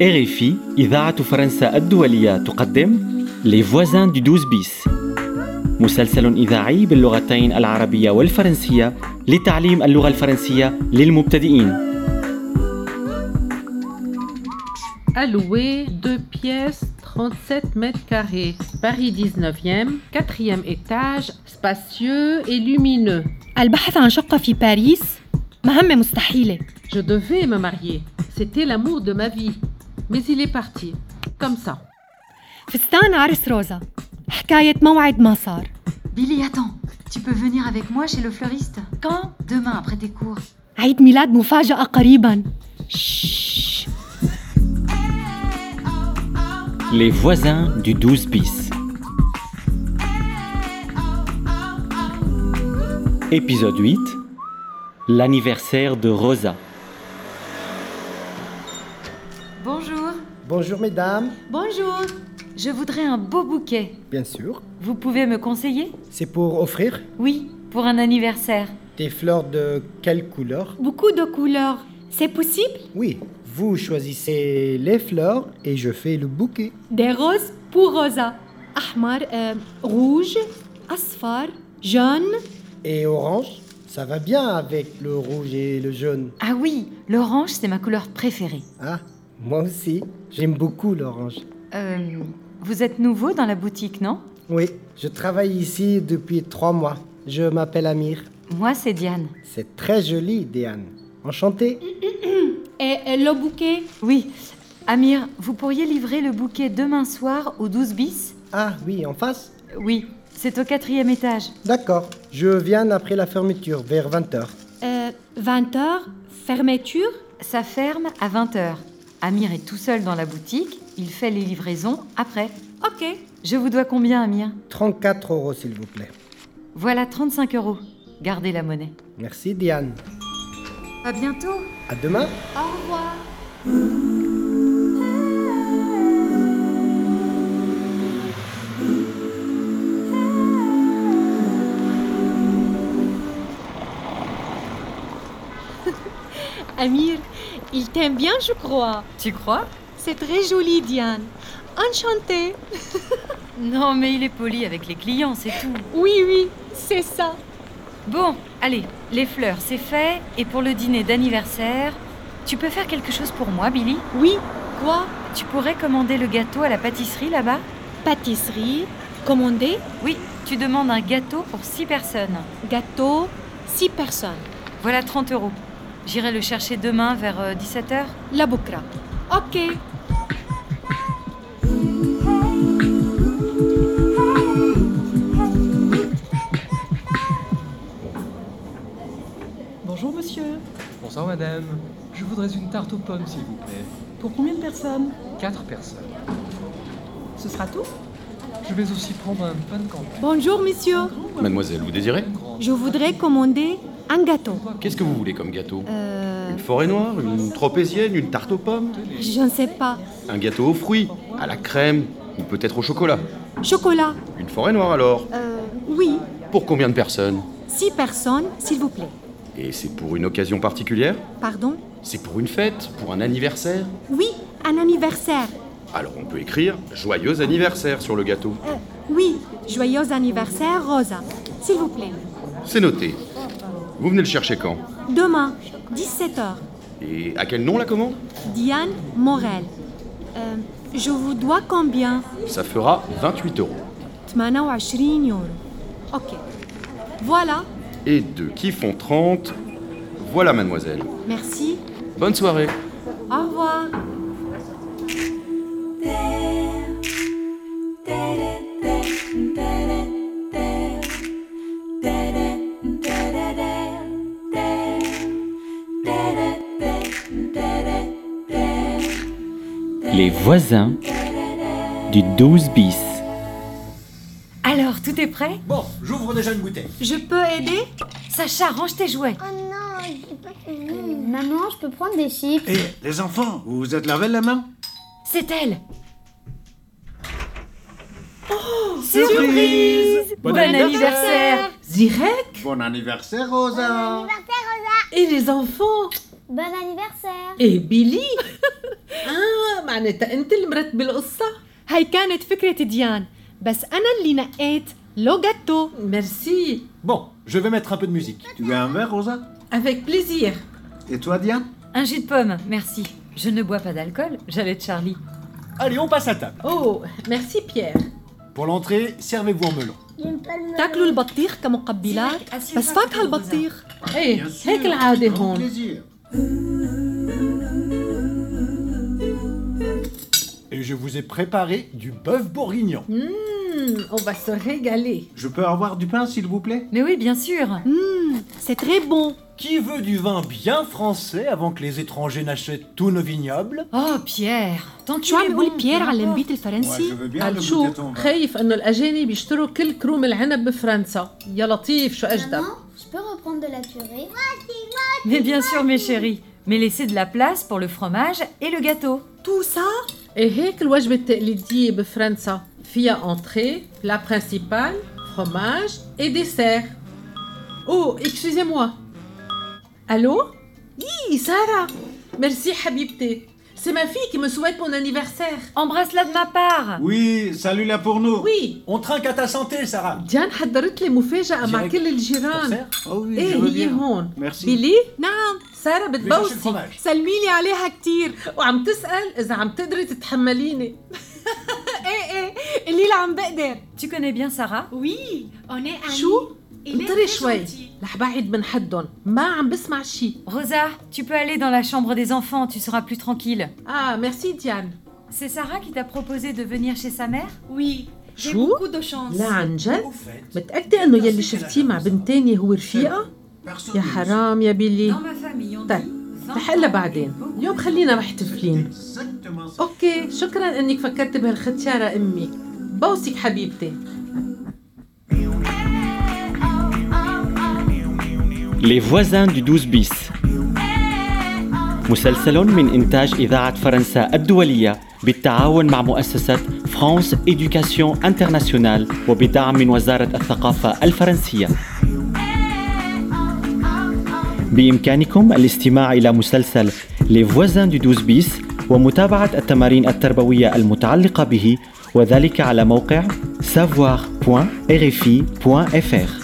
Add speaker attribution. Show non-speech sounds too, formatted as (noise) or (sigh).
Speaker 1: RFI إذاعة فرنسا الدولية تقدم Les voisins du 12 bis مسلسل إذاعي باللغتين العربية والفرنسية لتعليم اللغة الفرنسية للمبتدئين
Speaker 2: Alloué, deux pièces, 37 mètres carrés. Paris 19e, quatrième étage, spacieux et lumineux.
Speaker 3: البحث عن شقة في باريس مهمة مستحيلة
Speaker 2: Je devais me marier. C'était l'amour de ma vie. Mais il est parti. Comme ça.
Speaker 3: فستان عرس روزا حكاية موعد ما صار
Speaker 4: Billy, attends, tu peux venir avec moi chez le fleuriste
Speaker 3: Quand
Speaker 4: demain après tes cours.
Speaker 3: عيد ميلاد مفاجأة قريبا شش.
Speaker 1: Les voisins du 12 bis Épisode 8 L'anniversaire de Rosa
Speaker 4: Bonjour.
Speaker 5: Bonjour mesdames,
Speaker 4: Bonjour. Je voudrais un beau bouquet.
Speaker 5: bien sûr.
Speaker 4: Vous pouvez me conseiller
Speaker 5: C'est pour offrir
Speaker 4: Oui, pour un anniversaire.
Speaker 5: des fleurs de quelle couleur
Speaker 3: Beaucoup de couleurs. C'est possible
Speaker 5: Oui, vous choisissez les fleurs et je fais le bouquet.
Speaker 3: Des roses pour Rosa. أحمر آه، روج أصفر جون
Speaker 5: Et orange, ça va bien avec le rouge et le jaune.
Speaker 4: Ah oui, l'orange, c'est ma couleur préférée.
Speaker 5: Ah, moi aussi, j'aime beaucoup l'orange.
Speaker 4: Euh, vous êtes nouveau dans la boutique, non
Speaker 5: Oui, je travaille ici depuis trois mois. Je m'appelle Amir.
Speaker 4: Moi, c'est Diane.
Speaker 5: C'est très joli, Diane. Enchanté.
Speaker 3: et euh, le bouquet
Speaker 4: Oui. Amir, vous pourriez livrer le bouquet demain soir au 12 bis
Speaker 5: Ah oui, en face
Speaker 4: Oui, c'est au quatrième étage.
Speaker 5: D'accord, je viens après la fermeture, vers 20h.
Speaker 3: آه، 20h fermeture
Speaker 4: Ça ferme à 20h. Amir est tout seul dans la boutique, il fait les livraisons après.
Speaker 3: OK
Speaker 4: Je vous dois combien, Amir
Speaker 5: 34 euros, s'il vous plaît.
Speaker 4: Voilà 35 euros. Gardez la monnaie.
Speaker 5: Merci, Diane.
Speaker 4: À bientôt
Speaker 5: À demain.
Speaker 6: Amir, il t'aime bien, je crois.
Speaker 4: Tu crois
Speaker 6: C'est très joli, Diane. Enchantée.
Speaker 4: Non, mais il est poli avec les clients, c'est tout.
Speaker 6: Oui, oui, c'est ça.
Speaker 4: Bon, allez, les fleurs, c'est fait. Et pour le dîner d'anniversaire, tu peux faire quelque chose pour moi, Billy
Speaker 6: Oui, quoi
Speaker 4: Tu pourrais commander le gâteau à la pâtisserie là-bas
Speaker 6: Pâtisserie, commander,
Speaker 4: Oui, tu demandes un gâteau pour 6 personnes.
Speaker 6: gâteau, six personnes.
Speaker 4: Voilà 30 euros. J'irai le chercher demain vers euh, 17h.
Speaker 6: La bukra. Ok.
Speaker 7: Bonjour monsieur,
Speaker 8: Bonsoir madame, je voudrais une tarte aux pommes s'il vous plaît.
Speaker 7: pour combien de personnes
Speaker 8: Quatre personnes.
Speaker 7: Ce sera tout
Speaker 8: Je vais aussi prendre un pain de campagne.
Speaker 3: Bonjour monsieur,
Speaker 9: Mademoiselle, vous désirez
Speaker 3: je voudrais commander un gâteau. Euh,
Speaker 9: Qu'est-ce que vous voulez comme gâteau Une forêt noire, une tropézienne, une tarte aux pommes
Speaker 3: Je ne sais pas.
Speaker 9: Un gâteau aux fruits, à la crème, ou peut-être au chocolat
Speaker 3: Chocolat.
Speaker 9: Une forêt noire alors
Speaker 3: Euh, oui,
Speaker 9: Pour combien de personnes
Speaker 3: six personnes, s'il vous plaît.
Speaker 9: Et c'est pour une occasion particulière
Speaker 3: Pardon
Speaker 9: C'est pour une fête Pour un anniversaire
Speaker 3: Oui, un anniversaire.
Speaker 9: Alors on peut écrire Joyeux anniversaire sur le gâteau.
Speaker 3: Euh, oui, joyeux anniversaire, Rosa. S'il vous plaît.
Speaker 9: C'est noté. Vous venez le chercher quand
Speaker 3: Demain, 17h,
Speaker 9: Et à quel nom la commande
Speaker 3: Diane Morel. Euh, je vous dois combien
Speaker 9: Ça fera 28 euros.
Speaker 3: 28 euros. Ok. Voilà,
Speaker 9: Et deux qui font 30. Voilà mademoiselle.
Speaker 3: merci.
Speaker 9: Bonne soirée
Speaker 3: Au revoir.
Speaker 1: Les voisins du 12 bis
Speaker 4: Alors, tout est prêt
Speaker 10: Bon, j'ouvre déjà une bouteille.
Speaker 3: Je peux aider
Speaker 4: Sacha, range tes jouets. Euh,
Speaker 11: Maman, je peux prendre des chips
Speaker 10: Hé, Eh, les enfants, vous vous êtes lavé la main
Speaker 4: C'est elle.
Speaker 10: Surprise
Speaker 4: Bon, anniversaire.
Speaker 2: Zirek
Speaker 10: Bon anniversaire, Rosa
Speaker 2: et les enfants
Speaker 11: Bon anniversaire
Speaker 2: et Billy (laughs) Ah, ma معناتها انت اللي مرت بالقصه
Speaker 6: هاي كانت فكرة ديان بس أنا اللي نقيت لو جاتو
Speaker 2: ميرسي
Speaker 10: Bon, je vais mettre un peu de musique. Tu veux un verre, Rosa
Speaker 2: افيك بليزير
Speaker 10: Et toi, Diane
Speaker 4: Un jus de pomme, merci. Je ne bois pas d'alcool, j'allais de Charlie.
Speaker 10: Allez, on passe à table.
Speaker 2: Oh, merci Pierre.
Speaker 10: Pour l'entrée, servez-vous en melon.
Speaker 6: تاكلوا البطيخ كمقبلات بس فاكهة البطيخ
Speaker 2: ايه هيك العادة هون.
Speaker 10: plaisir.
Speaker 9: Et je vous ai préparé du bœuf bourguignon.
Speaker 10: Mm.
Speaker 2: Hmm, on va se régaler.
Speaker 10: Je peux avoir du pain, s'il vous plaît
Speaker 4: Mais oui, bien sûr.
Speaker 6: سي تري بون
Speaker 9: Qui veut du vin bien français avant que les étrangers n'achètent tous nos vignobles
Speaker 4: Oh, Pierre, tant que
Speaker 6: شو
Speaker 4: tu es
Speaker 6: عم
Speaker 4: bon,
Speaker 6: يقول بيير
Speaker 4: peu
Speaker 6: على
Speaker 4: importe.
Speaker 6: المبيت
Speaker 10: Moi, je
Speaker 6: الفرنسي؟
Speaker 10: veux bien
Speaker 2: قال
Speaker 10: le hein.
Speaker 2: شو
Speaker 10: goûter ton vin.
Speaker 2: خايف انه الاجانب يشتروا كل كروم العنب بفرنسا يا لطيف شو اجدب
Speaker 11: Je peux reprendre de la purée
Speaker 4: Mais bien sûr, mes chéris. Mais laissez de la place pour le fromage et le gâteau.
Speaker 3: Tout ça
Speaker 2: ايه هيك الوجبة التقليدية بفرنسا فيها انتري لا برينسيبال فروماج اي ديسير او اكسكوزي موا الو اي سارة ميرسي حبيبتي سي ما في كي مو سويت بون انيفرسير
Speaker 4: Embrasse-la de ma part.
Speaker 10: Oui, salut là pour nous.
Speaker 2: وي
Speaker 9: On trinque à ta santé, Sarah
Speaker 2: ديان حضرت لي مفاجأة مع
Speaker 9: Direct.
Speaker 2: كل الجيران
Speaker 10: Oh oui, je
Speaker 2: ايه
Speaker 10: veux
Speaker 2: هي
Speaker 10: bien.
Speaker 2: هون
Speaker 10: Merci.
Speaker 2: بيلي
Speaker 6: نعم
Speaker 2: سارة
Speaker 10: Je vais chercher
Speaker 2: بتبوسي
Speaker 10: le fromage.
Speaker 6: سلمي لي عليها كتير
Speaker 2: وعم تسأل إذا عم تقدري تتحمليني
Speaker 6: ايه ايه اللي عم بقدر
Speaker 4: Tu connais bien Sarah
Speaker 6: وي اوني
Speaker 2: شو؟ انطري شوي رح بعيد من حدهم ما عم بسمع شي
Speaker 4: Rosa, tu peux aller dans la chambre des enfants, tu seras plus tranquille.
Speaker 2: اه ميرسي ديان
Speaker 4: C'est Sarah qui t'a proposé de venir chez sa mère
Speaker 6: وي
Speaker 2: شو؟
Speaker 6: بوكو دو شانس
Speaker 2: لا عن جد
Speaker 10: Au fait,
Speaker 2: متأكدة إنه يلي شفتيه مع بنت تانية هو رفيقة؟
Speaker 10: personne
Speaker 2: يا
Speaker 10: ne le
Speaker 2: حرام يا بيلي
Speaker 4: ma famille, on
Speaker 2: طيب رح قلها بعدين اليوم خلينا محتفلين
Speaker 10: Exactement ça.
Speaker 2: أوكي شكرا إنك فكرت بهالختيارة أمي بوسك حبيبتي
Speaker 1: Les voisins du 12 bis مسلسل من إنتاج إذاعة فرنسا الدولية بالتعاون مع مؤسسة فرانس إدوكاسيون انترناسيونال وبدعم من وزارة الثقافة الفرنسية بإمكانكم الاستماع إلى مسلسل Les voisins du 12 bis ومتابعة التمارين التربوية المتعلقة به وذلك على موقع savoir.rfi.fr